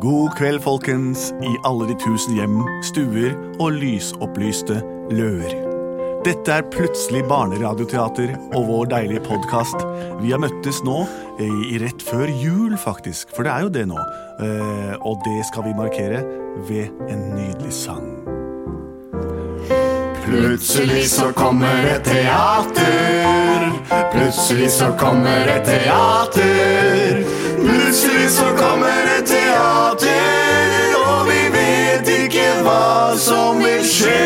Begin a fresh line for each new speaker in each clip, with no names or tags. God kveld, folkens, i alle de tusen hjem, stuer og lysopplyste løer. Dette er plutselig Barneradioteater og vår deilige podkast. Vi har møttes nå eh, i rett før jul, faktisk, for det er jo det nå. Eh, Og det skal vi markere ved en nydelig sang.
Plutselig så kommer et teater. Plutselig så kommer et teater. Plutselig så kommer et teater, og vi vet ikke hva som vil skje.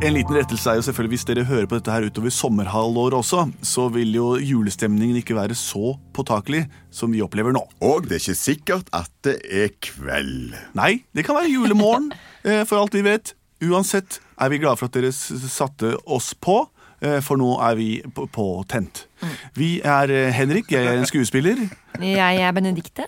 En liten rettelse er jo selvfølgelig Hvis dere hører på dette her utover sommerhalvåret også, så vil jo julestemningen ikke være så påtakelig som vi opplever nå.
Og det er ikke sikkert at det er kveld.
Nei, det kan være julemorgen, eh, for alt vi vet. Uansett er vi glade for at dere s- satte oss på, eh, for nå er vi på, på tent. Vi er eh, Henrik, jeg er en skuespiller.
Jeg er Benedikte.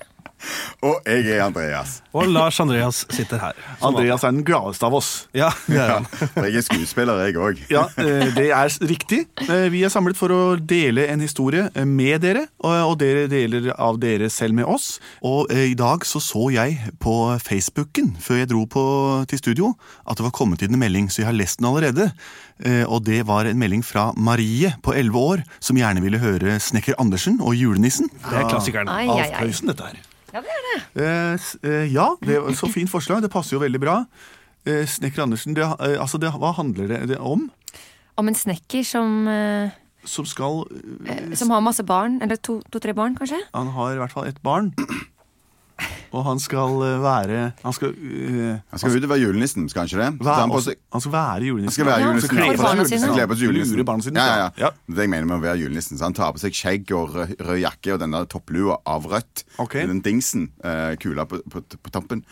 Og jeg er Andreas.
Og Lars Andreas sitter her. Som
Andreas er den gladeste av oss.
vanlig. Ja, det er
Ja,
han.
for jeg er skuespiller, jeg òg.
Ja, eh, det er s- riktig. Eh, Vi er samlet for å dele en historie eh, med dere, og og dere deler av dere selv med oss. Og eh, i dag så så jeg på Facebooken før jeg dro på, til studio at det var kommet inn en melding, så jeg har lest den allerede. Eh, Og det var en melding fra Marie på 11 år, som gjerne ville høre Snekker Andersen og julenissen.
Det er klassikeren.
Ai, ai,
Alf
ai.
Prøysen, dette her.
Ja, det er det.
Eh, s- eh, ja, det var så fint forslag. Det passer jo veldig bra. Eh, Snekker Andersen, det, eh, altså det, hva handler det- det om?
Om en snekker som, eh,
Som skal eh,
som har masse barn. Eller to-tre barn, kanskje.
Han har i hvert fall et barn. Og han skal eh, være Han skal eh,
Han skal ut og være julenissen, skal han ikke det? Så
være,
han på seg-
han skal være
Han
julenissen.
skal være
Ja,
julenissen.
for
Han skal
barna
kle på seg
sine.
julenissen. Kle på seg julenissen.
Lure barna sine,
Ja, ja,
ja.
ja. Det er det jeg mener med å være julenissen. Så han tar på seg skjegg og rød, rød jakke og den der topplua av rødt.
Ok.
Den dingsen. eh, kula på, på, på tampen.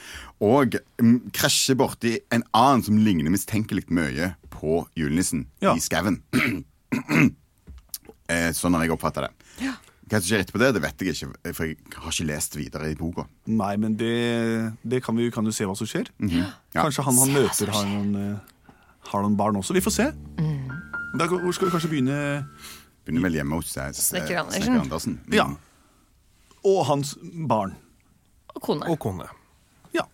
Og mm, krasjer borti en annen som ligner mistenkelig mye på julenissen
Ja.
i skauen. Eh, sånn har jeg oppfatta det. Hva som skjer etterpå det, det vet jeg ikke, for jeg har ikke lest videre i boka.
Nei, men det, det kan vi kan jo se hva som skjer.
Mhm. Ja.
Kanskje han han møter, har noen, eh, har noen barn også. Vi får se.
Mhm.
Da går- hvor skal vi kanskje begynne
Begynner vel hjemme hos eh,
Snekker Andersen.
Snekker Andersen. Mm.
Ja. Og hans barn.
Og kone.
Og kone.
Ja.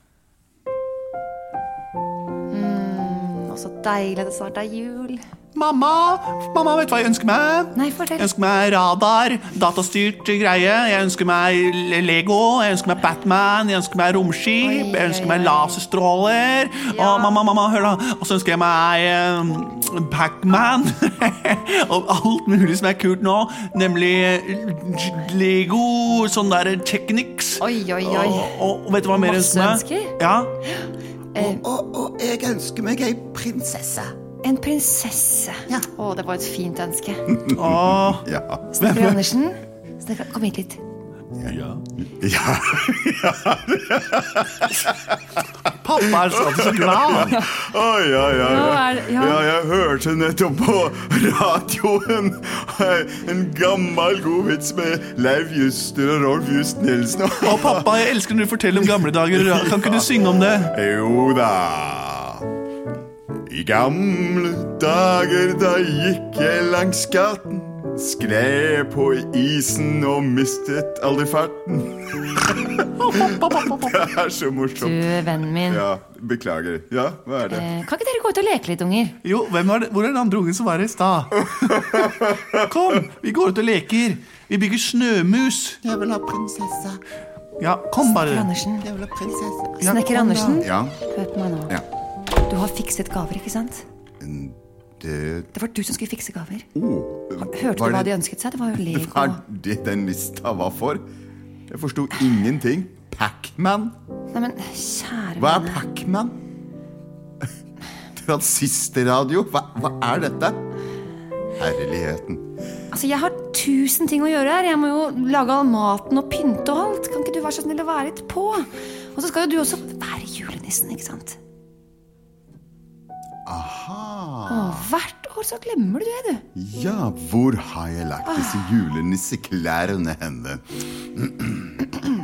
Og så deilig at det snart er jul.
Mamma! Mamma, vet du hva jeg ønsker meg?
Nei, fortell.
Jeg ønsker meg radar, datastyrt greie. Jeg ønsker meg le- Lego, jeg ønsker meg Batman, jeg ønsker meg
Oi,
romskip,
oi,
jeg ønsker meg
oi.
laserstråler. Å,
Ja.
mamma, mamma, hør da. Og så ønsker jeg meg eh, Pac-Man. og alt mulig som er kult nå, nemlig eh, Lego, sånn der Technics.
Oi, oi, oi.
Og, og vet du hva mer jeg ønsker
Masse
meg? Ja.
Og jeg ønsker meg ei prinsesse.
En prinsesse. Å, det var et fint ønske.
Åh,
Ja.
Snekker Andersen, snekker, kom hit litt.
ja.
pappa er alltid så glad.
Å, ja, ja,
Nå
ja.
er- ja.
ja, jeg hørte nettopp på radioen eh, en gammel god vits med Leiv Juster og Rolf Just Nilsen.
Å, pappa, jeg elsker når du forteller om gamle dager. Kan ikke du synge om det?
Jo da. I gamle dager da gikk jeg langs gaten. Skled på isen og mistet aldri farten. Det er så
Du,
morsomt.
vennen min.
Ja, beklager. Ja, hva er det?
Eh, Kan ikke dere gå ut og leke litt, unger?
Jo, hvem var det? Hvor er den andre ungen som var her i stad? Kom, vi går ut og leker. Vi bygger snømus.
Jeg vil ha prinsesse.
Ja, kom
Snekker
bare.
Andersen.
Jeg vil ha prinsesse.
Snekker Andersen.
Ja,
Hør på meg nå.
Ja.
Du har fikset gaver, ikke sant?
det
Det var du som skulle fikse gaver.
Oh, var
Hørte du hva
det-
de ønsket seg? Det var jo Lego.
Var det den lista var for? Jeg forsto ingenting. Pacman?
Nei, men kjære
Hva er
vene.
Pacman? Transistorradio? Hva, hva er dette? Herligheten.
Altså, Jeg har tusen ting å gjøre her. Jeg må jo lage all maten og pynte og alt. Kan ikke du være så snill å være litt på? Og så skal jo du også være julenissen, ikke sant?
Aha.
Og hvert år så glemmer du det, du.
Ja, hvor har jeg lagt disse
Ah.
julenisseklærne henne?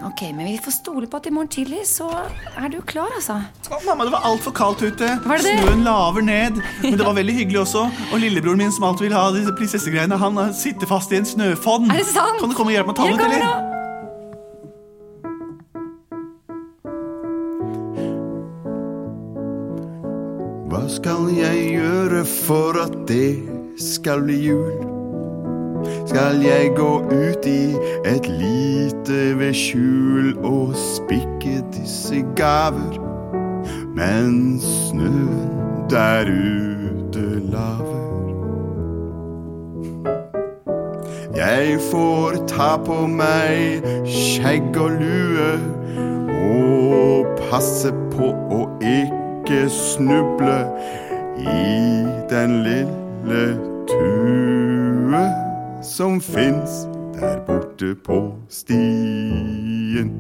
Ok, men vi får stole på at i morgen tidlig så er du klar, altså.
Å, mamma, det var altfor kaldt ute.
Var det det?
Snøen laver ned. Men det var veldig hyggelig også. Og lillebroren min som alltid vil ha disse prinsessegreiene, han eh, sitter fast i en snøfonn.
Er det sant?
Kan du komme og hjelpe meg å ta den
Jeg
ut,
kommer
eller?
nå.
Hva skal jeg gjøre for at det skal bli jul? Skal jeg gå ut i et lite vedskjul og spikke disse gaver? Men snøen der ute laver. Jeg får ta på meg skjegg og lue og passe på å ikke snuble i den lille tue som fins der borte på stien.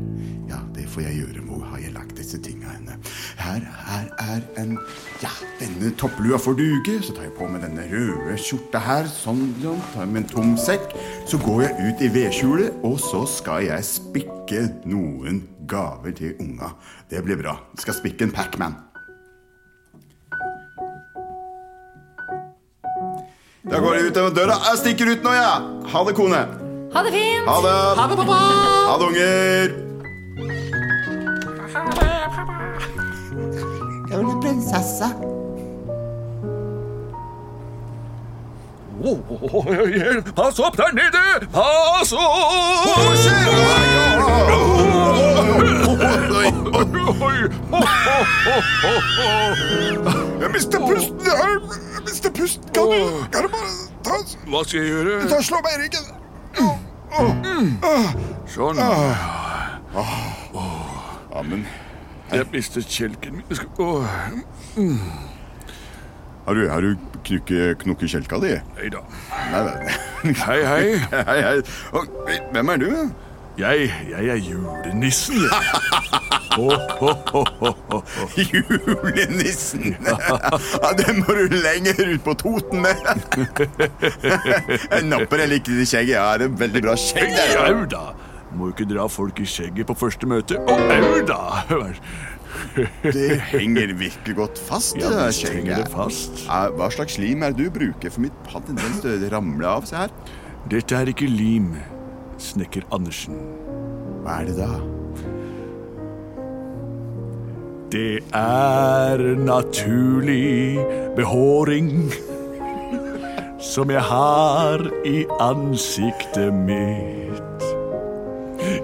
Ja, det får jeg gjøre. Hvor har jeg lagt disse tinga henne? Her, her er en Ja, denne topplua får duge. Så tar jeg på meg denne røde skjorta her. Sånn, ja. Tar med en tom sekk. Så går jeg ut i vedskjulet, og så skal jeg spikke noen gaver til unga. Det blir bra. Skal spikke en Pacman. Da går jeg ut av døra. Jeg stikker ut nå, jeg. Ja. Ha det, kone.
Ha det fint!
Ha det.
Ha det, pappa!
Ha det, unger.
Kronprinsessa.
Pass opp der nede! Pass opp!
Jeg mister pusten. Jeg jeg mister pusten. Kan du, kan du bare ta,
Hva skal
ta
jeg gjøre?
slå meg i ryggen?
Sånn.
Amen.
Jeg mistet kjelken min. Skal- Åh, Mm.
Har du, har du knukke, knukke kjelka di?
Hei da.
Nei, nei.
Hei, hei.
Hei, hei. Og, hvem er du?
Jeg, jeg er julenissen, jeg.
Julenissen. Ja, det må du lenger ut på Toten med. Jeg napper jeg liker det skjegget. Jeg har et veldig bra skjegg.
Hei,
der.
Au da! Må ikke dra folk i skjegget på første møte. Å, au da!
Det henger virkelig godt fast.
Ja,
det der
visst henger det
skjegget.
fast.
Eh, Hva slags slim er det du bruker for mitt padd? Den stø- ramler av, se her.
Dette er ikke lim, snekker Andersen.
Hva er det da?
Det er naturlig behåring som jeg har i ansiktet mitt.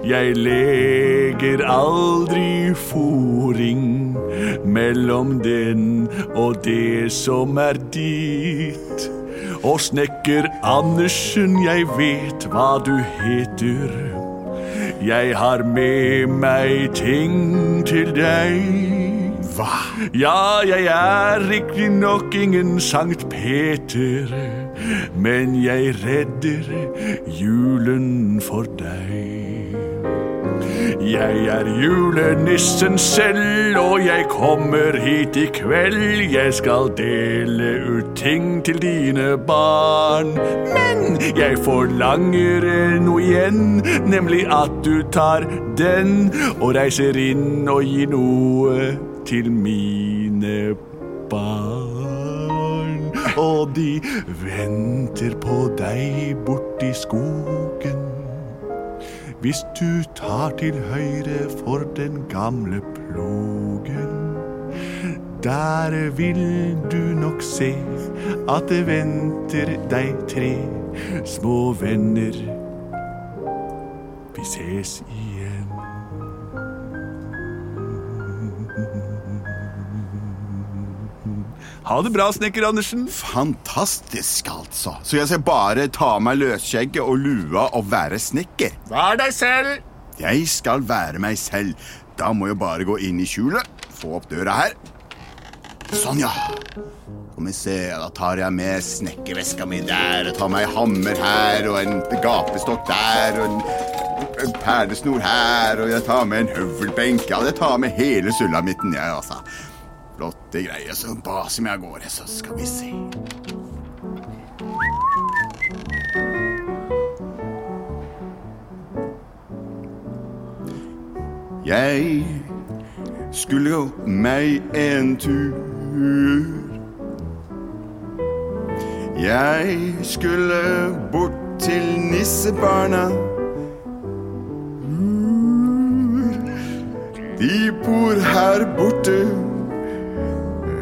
Jeg leger aldri foring mellom den og det som er ditt. Og snekker Andersen, jeg vet hva du heter. Jeg har med meg ting til deg. Hva? Ja, jeg er riktignok ingen Sankt Peter, men jeg redder julen for deg. Jeg er julenissen selv, og jeg kommer hit i kveld. Jeg skal dele ut ting til dine barn. Men jeg forlanger noe igjen, nemlig at du tar den og reiser inn og gir noe til mine barn. Og de venter på deg borti skogen hvis du tar til høyre for den gamle plogen. Der vil du nok se at det venter deg tre små venner. Vi ses igjen. Ha det bra, snekker Andersen.
Fantastisk, altså. Så jeg skal bare ta av meg løsskjegget og lua og være snekker.
Vær deg selv.
Jeg skal være meg selv. Da må jeg bare gå inn i skjulet, få opp døra her. Sånn, ja. Skal vi se, da tar jeg med snekkerveska mi der, og tar meg en hammer her, og en gapestokk der, og en, en perlesnor her, og jeg tar med en høvelbenk. Ja, jeg tar med hele sulamitten, jeg, altså. Flotte greier. Så baser vi av gårde, så skal vi se. Jeg skulle gå meg en tur. Jeg skulle bort til nissebarna. De bor her borte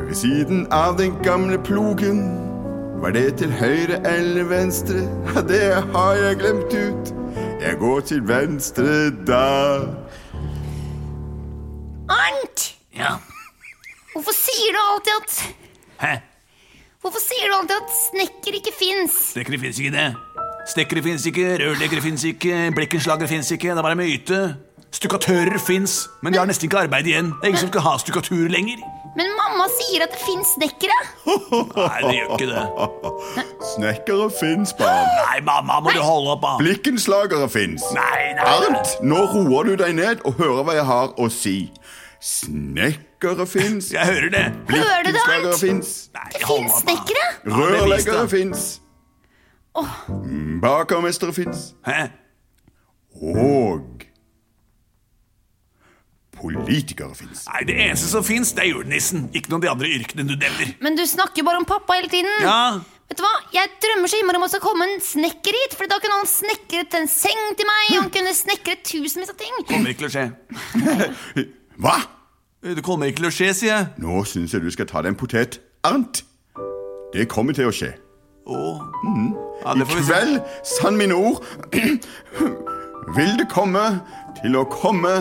ved siden av den gamle plogen. Var det til høyre eller venstre? Ja, Det har jeg glemt ut. Jeg går til venstre da.
Arnt!
Ja.
Hvorfor sier du alltid at
Hæ?
Hvorfor sier du alltid at snekker ikke fins?
Snekkere fins ikke, det. Snekkere fins ikke, rørleggere fins ikke, blikkenslagere fins ikke. Det er bare myte. Stukkatører fins, men de har nesten ikke arbeid igjen. Det er ingen som skal ha stukkatur lenger.
Men mamma sier at det fins snekkere.
Nei, det gjør ikke det.
Snekkere fins, barn.
Nei, mamma, må du holde opp, da.
Blikkenslagere fins.
Nei, nei.
Arnt, nå roer du deg ned og hører hva jeg har å si. Snekkere fins.
Jeg hører det.
Hører du det,
Blikkenslagere
Arnt?
fins.
Nei,
Det
hold
fins
opp, da.
snekkere.
Rørleggere fins. Mm, Bakermestere fins.
Hæ?
Og politikere fins.
Nei, det eneste som fins, det er julenissen. Ikke noen av de andre yrkene du nevner.
Men du snakker bare om pappa hele tiden.
Ja,
Vet du hva? Jeg drømmer så innmari om at det skal komme en snekker hit. For da kunne han snekret en seng til meg, og han kunne snekret tusenvis av ting.
kommer ikke til å skje. Eh,
Hva?
Det kommer ikke til å skje, sier jeg.
Nå syns jeg du skal ta deg en potet, Arnt. Det kommer til å skje.
Åh. Ja,
I
det får vi se.
kveld, sann mine ord, vil det komme til å komme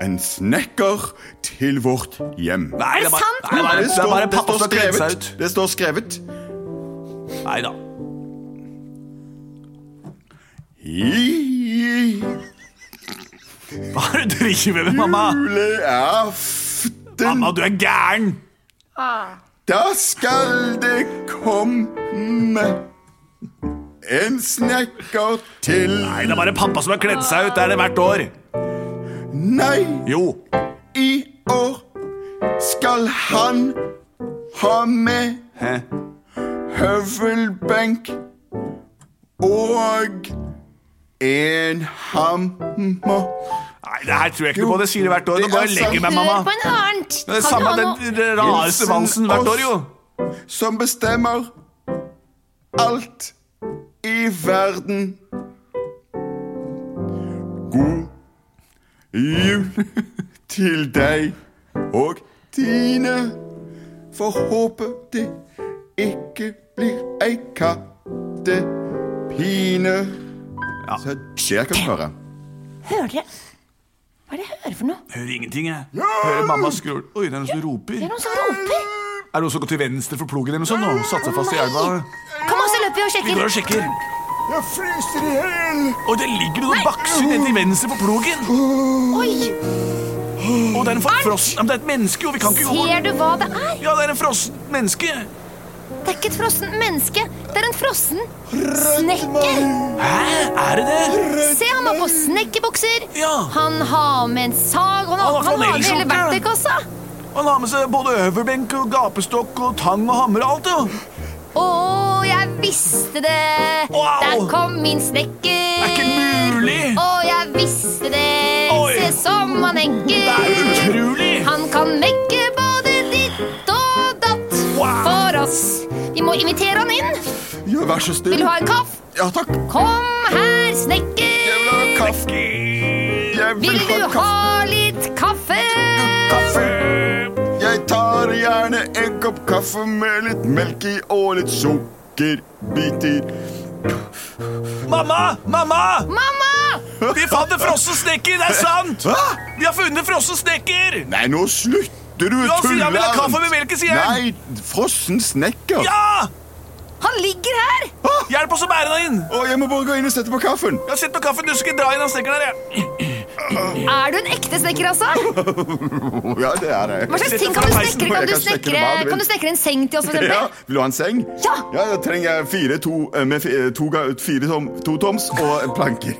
en snekker til vårt hjem.
Nei, det er bare,
sant,
nei, det er bare,
Det
det er
står,
bare
det
pappa
står
som har kledd seg ut.
skrevet. Det står skrevet.
Nei da.
I
Hva er det du driver med, mamma?
juleaften,
Mamma, du er gæren!
da skal det komme en snekker til
Nei, det er bare pappa som har kledd seg ut. Det er det hvert år.
Nei,
Jo.
i år skal han ha med
Hæ?
høvelbenk og en hammer.
Nei, det her tror jeg ikke noe på. Det sier det hvert år.
det
Nå går
er
jeg og legger meg,
Hør
mamma.
på en Arnt.
Det er
Kan du
samme
ha noe
den rareste
Hilsen
valsen hvert år, jo.
Som bestemmer alt i verden. God jul til deg og dine. Får håpe det ikke blir ei kattepine. Så der kan du høre.
Hører dere? Hva er det jeg hører for noe?
Hører ingenting, jeg. Hører mamma skrur. Oi, det er noen som roper.
Det er noen som roper.
Er det noen som går til venstre for plogen eller noe sånt?
Ah,
nå? Satt seg fast i elva?
Kom, og så løper vi og
Vi går
sjekker.
og sjekker.
Jeg fryser i hjel!
Og det ligger noen bakser nede til venstre for plogen.
Oi,
Og det er en frossen Ja, men Det er et menneske, jo. Vi kan ikke gå
ser du hva det er?
Ja, det er en frossen menneske.
Det er ikke et frossent menneske. Det er en frossen snekker.
Hæ? Er det det?
Se, han har på snekkerbukser.
Ja.
Han har med en sag. Han har,
Han har
han har med
flanellskjorte.
hele verktøykassa.
Han har med seg både øverbenk og gapestokk og tang og hammer og alt, jo.
Å, jeg visste det!
Wow.
Der kom min
Det er
snekker.
ikke mulig.
Å, jeg visste det.
Oi.
Se som han
Det er jo
enker.
utrolig.
Han kan mekke både ditt og datt
Wow.
for oss. Vi må invitere han inn.
Ja, vær så snill.
Vil du ha en kaffe?
Ja takk.
Kom her, snekker.
Jeg vil ha kaffe. Jeg
Vil
ha
du
kaffe.
ha litt kaffe?
kaffe. Jeg tar gjerne en kopp kaffe med litt melk i og litt sukkerbiter.
Mamma! Mamma!
Mamma!
Vi fant en frossen snekker, det er sant!
Hva?
Vi har funnet frossen snekker!
Nei, nå slutter du å
Ja, sier
tulle.
han vil ha kaffe
Arnt.
med melk, sier han.
Nei, frossen snekker.
Ja!
Han ligger her.
Hjelp oss å bære deg inn.
Å, jeg må bare gå inn og sette på kaffen.
Jeg har sett på kaffen, du skal ikke dra inn han snekkeren der, jeg.
Er du en ekte snekker, altså?
Ja, det er det.
Hva slags ting kan du snekre? Kan du
Jeg kan snekre
snekre,
hva du vil.
kan du snekre en seng til oss, for
Ja,
eksempel?
Vil du ha en seng?
Ja.
ja Da trenger jeg fire, to, eh, med fi- eh, to, ga- fire tom, to toms og en planker.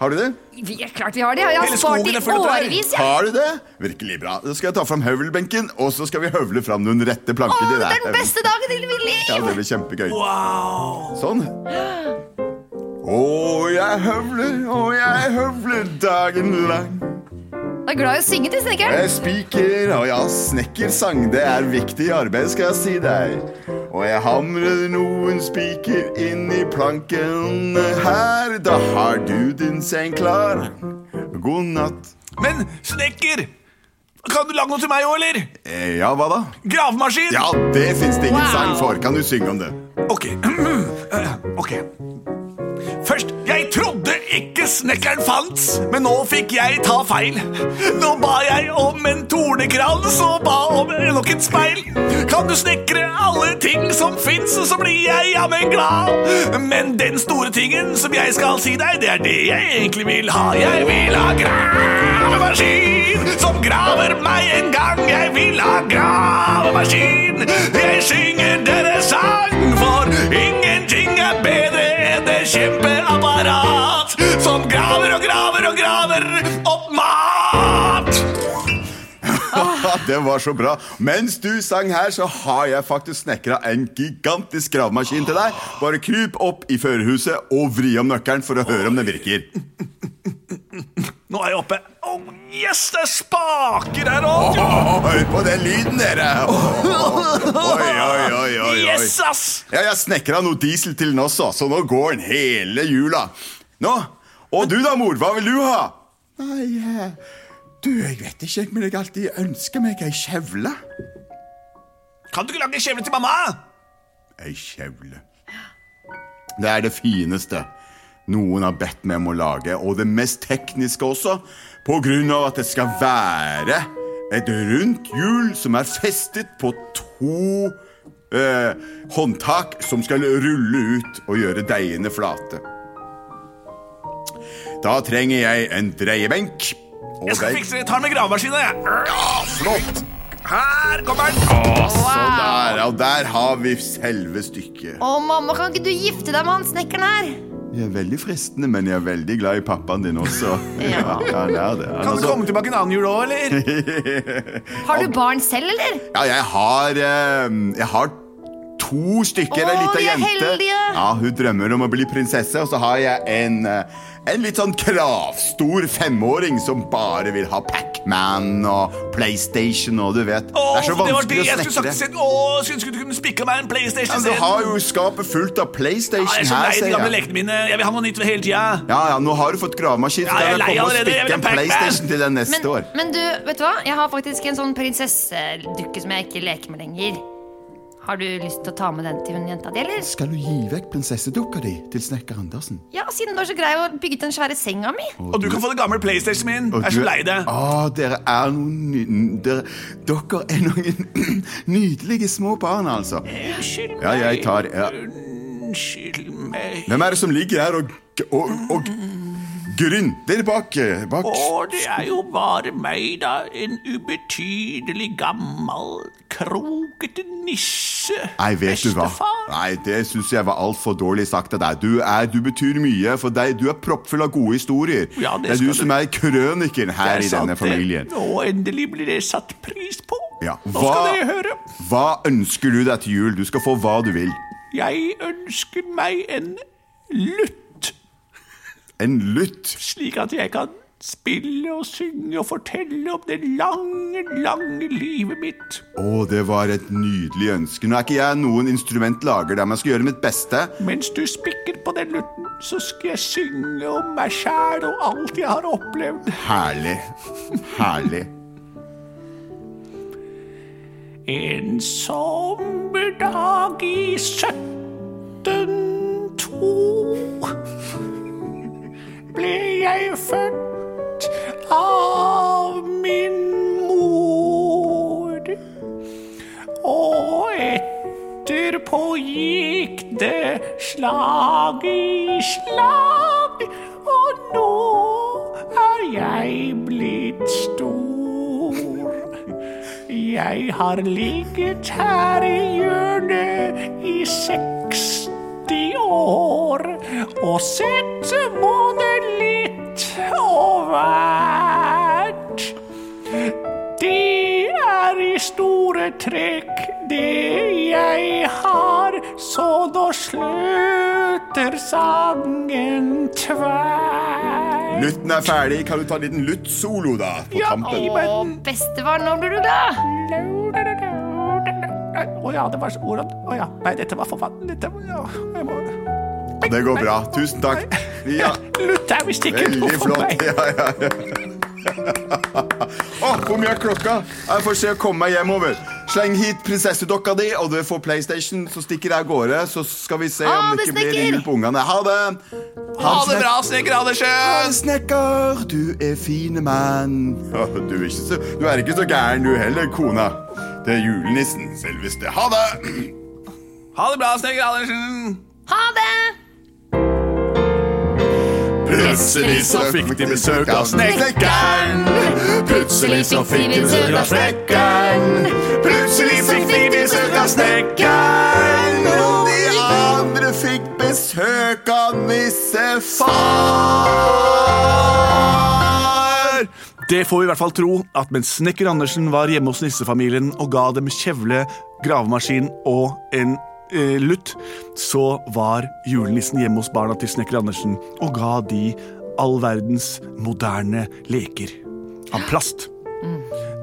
Har du det?
Vi er klart vi har det. Jeg har
Hele
spart
skogen
i
er full av trær.
årevis. jeg.
Har du det? Virkelig bra. Da skal jeg ta fram høvelbenken, og så skal vi høvle fram noen rette
Å,
planker. til
det
deg.
er den beste dagen i mitt
Ja,
liv!
det blir kjempegøy.
Wow!
Sånn. Å, jeg høvler, å, jeg høvler dagen lang.
Jeg er glad i å synge til
Og
snekkeren.
jeg spiker, og jeg snekker sang. Det er viktig arbeid, skal jeg si deg. Og jeg hamrer noen spiker inn i plankene her. Da har du din seng klar. God natt.
Men snekker! Kan du lage noe til meg òg, eller?
Eh, ja, hva da?
Gravemaskin!
Ja, det fins det ingen
Wow.
sang for. Kan du synge om det?
Ok. Eh, ok. Først, jeg trodde ikke snekkeren fantes, men nå fikk jeg ta feil. Nå ba jeg om en tornekrans og ba om nok et speil. Kan du snekre alle ting som fins, så blir jeg jammen glad. Men den store tingen som jeg skal si deg, det er det jeg egentlig vil ha. Jeg vil ha gravemaskin som graver meg en gang. Jeg vil ha gravemaskin. Jeg synger deres sang, for ingenting er bedre enn det kjempeapparat som graver og graver og graver opp mat.
det var så bra. Mens du sang her, så har jeg faktisk snekra en gigantisk gravemaskin til deg. Bare kryp opp i førerhuset og vri om nøkkelen for å høre om den virker.
Nå er jeg oppe. Å, yes, det er spaker her òg.
Åh, Hør på den lyden, dere! Åh, Oi, oi, oi, oi, oi.
Yes, ass!
Ja, jeg snekra noe diesel til den også, så nå går den hele jula. Nå, Og du da, mor? Hva vil du ha? Nei, eh, du, jeg vet ikke, men jeg alltid ønsker meg ei kjevle.
Kan du ikke lage en kjevle til mamma?
Ei kjevle. Det er det fineste noen har bedt meg om å lage, og det mest tekniske også, på grunn av at det skal være et rundt hjul som er festet på to eh, håndtak som skal rulle ut og gjøre deigene flate. Da trenger jeg en dreiebenk. Og
Jeg skal
deig-
fikse det. Jeg tar med gravemaskinen. jeg.
Flott!
Her kommer den!
Og der, og der har vi selve stykket.
Å, mamma, kan ikke du gifte deg med han snekkeren her?
Jeg er veldig fristende, men jeg er veldig glad i pappaen din også.
Ja.
han er det. Han
Kan du
altså.
komme tilbake en annen jul òg, eller?
Har du barn selv, eller?
Ja, jeg har eh, Jeg har to stykker. Ei
Å,
lita
vi er
jente.
heldige.
Ja, Hun drømmer om å bli prinsesse, og så har jeg en eh, en litt sånn kravstor femåring som bare vil ha Pacman og PlayStation og du vet.
Åh,
det er så
det var det
vanskelig å
jeg skulle
snekre.
sagt siden. Åh, skulle skulle du kunne spikka meg en
Ja,
PlayStation
men du
siden?
har jo skapet fullt av
Ja,
PlayStation
jeg er så
her,
lei de gamle lekene mine. Jeg vil ha noe nytt hele tida.
Ja, ja, nå har du fått gravemaskin.
Ja, jeg
så
er
kan
lei
jeg komme og
allerede. Jeg vil
stikke
ha
en
Pac-Man.
PlayStation til deg neste
Men,
år.
men du, vet du hva? Jeg har faktisk en sånn prinsessedukke som jeg ikke leker med lenger. Har du lyst til å ta med den til hun jenta di, eller?
Skal du gi vekk prinsessedukka di til snekker Andersen?
Ja, siden du er så grei og bygget den svære senga mi.
Og du kan få den gamle PlayStation min.
Og
Jeg er
du-
så
Ah.
lei det.
Å, dere er noen ny- dere, dere er noen nydelige små barn, altså.
Unnskyld
Ja, jeg tar ja.
Unnskyld meg.
Hvem er det som ligger her og, og, og grynter bak, eh, bak
Å, det er jo bare meg, da. En ubetydelig, gammel, krokete nisse.
Nei, vet du hva?
Bestefar.
Nei, Det syns jeg var altfor dårlig sagt av deg. Du, er, du betyr mye for deg. Du er proppfull av gode historier.
Ja, det
er du
skal
som er krøniken her
Jeg
i
sa
denne
det.
familien.
Og endelig blir det satt pris på.
Ja,
Nå skal
hva-
dere høre.
Hva ønsker du deg til jul? Du skal få hva du vil.
Jeg ønsker meg en lutt,
En lutt.
slik at jeg kan spille og synge og fortelle om det lange, lange livet mitt.
Å, det var et nydelig ønske. Nå er ikke jeg noen instrumentlager, der, men jeg skal gjøre mitt beste.
Mens du spikker på den lutten, så skal jeg synge om meg sjæl og alt jeg har opplevd.
Herlig. Herlig.
En sommerdag i 1702 ble jeg født av min mor. Og etterpå gikk det slag i slag, og nå er jeg blitt stor. Jeg har ligget her i hjørnet i 60 år og sett både litt og hvert. Det er i store trekk det jeg har, så da slutter sangen tvert.
Lutten er ferdig. Kan du ta en liten luttsolo, da? På tampen.
men
Bestefar, nå blir du glad!
Å ja, det var så hvordan Å ja. Nei, dette var forfatten. Dette var ja, jeg må...
Det går bra. Tusen takk. Ja,
Lutt er visst ikke noe
veldig
for
flott.
meg.
Ja, ja, ja. Å, hvor mye er klokka? Jeg får se å komme meg hjemover. Sleng hit prinsessedokka di, og du får PlayStation, så stikker jeg av gårde. Så skal vi se
Ha
om
det,
det ikke blir
snekker!
jul på ungene. Ha det!
Ah, Ha det bra, snekker Andersen!
Snekker, du er fine mann. Å, Du er, ikke så, du er ikke så gæren, du heller, kona. Det er julenissen, selveste. Ha det!
Ha det bra, snekker Andersen!
Ha det!
Plutselig så fikk de besøk av snekkeren. Plutselig så fikk de besøk av snekkeren. Plutselig så fikk de besøk av snekkeren. Og de andre fikk besøk av nissefar.
Det får vi i hvert fall tro, at mens snekker Andersen var hjemme hos nissefamilien og ga dem kjevle, gravemaskin og en eh, lutt, så var julenissen hjemme hos barna til snekker Andersen og ga de all verdens moderne leker av plast.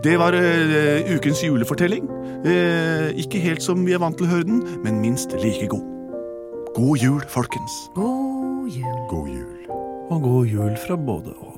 Det var eh, ukens julefortelling. Eh, ikke helt som vi er vant til å høre den, men minst like god. God jul, folkens.
God jul.
God jul.
Og god jul fra både oss.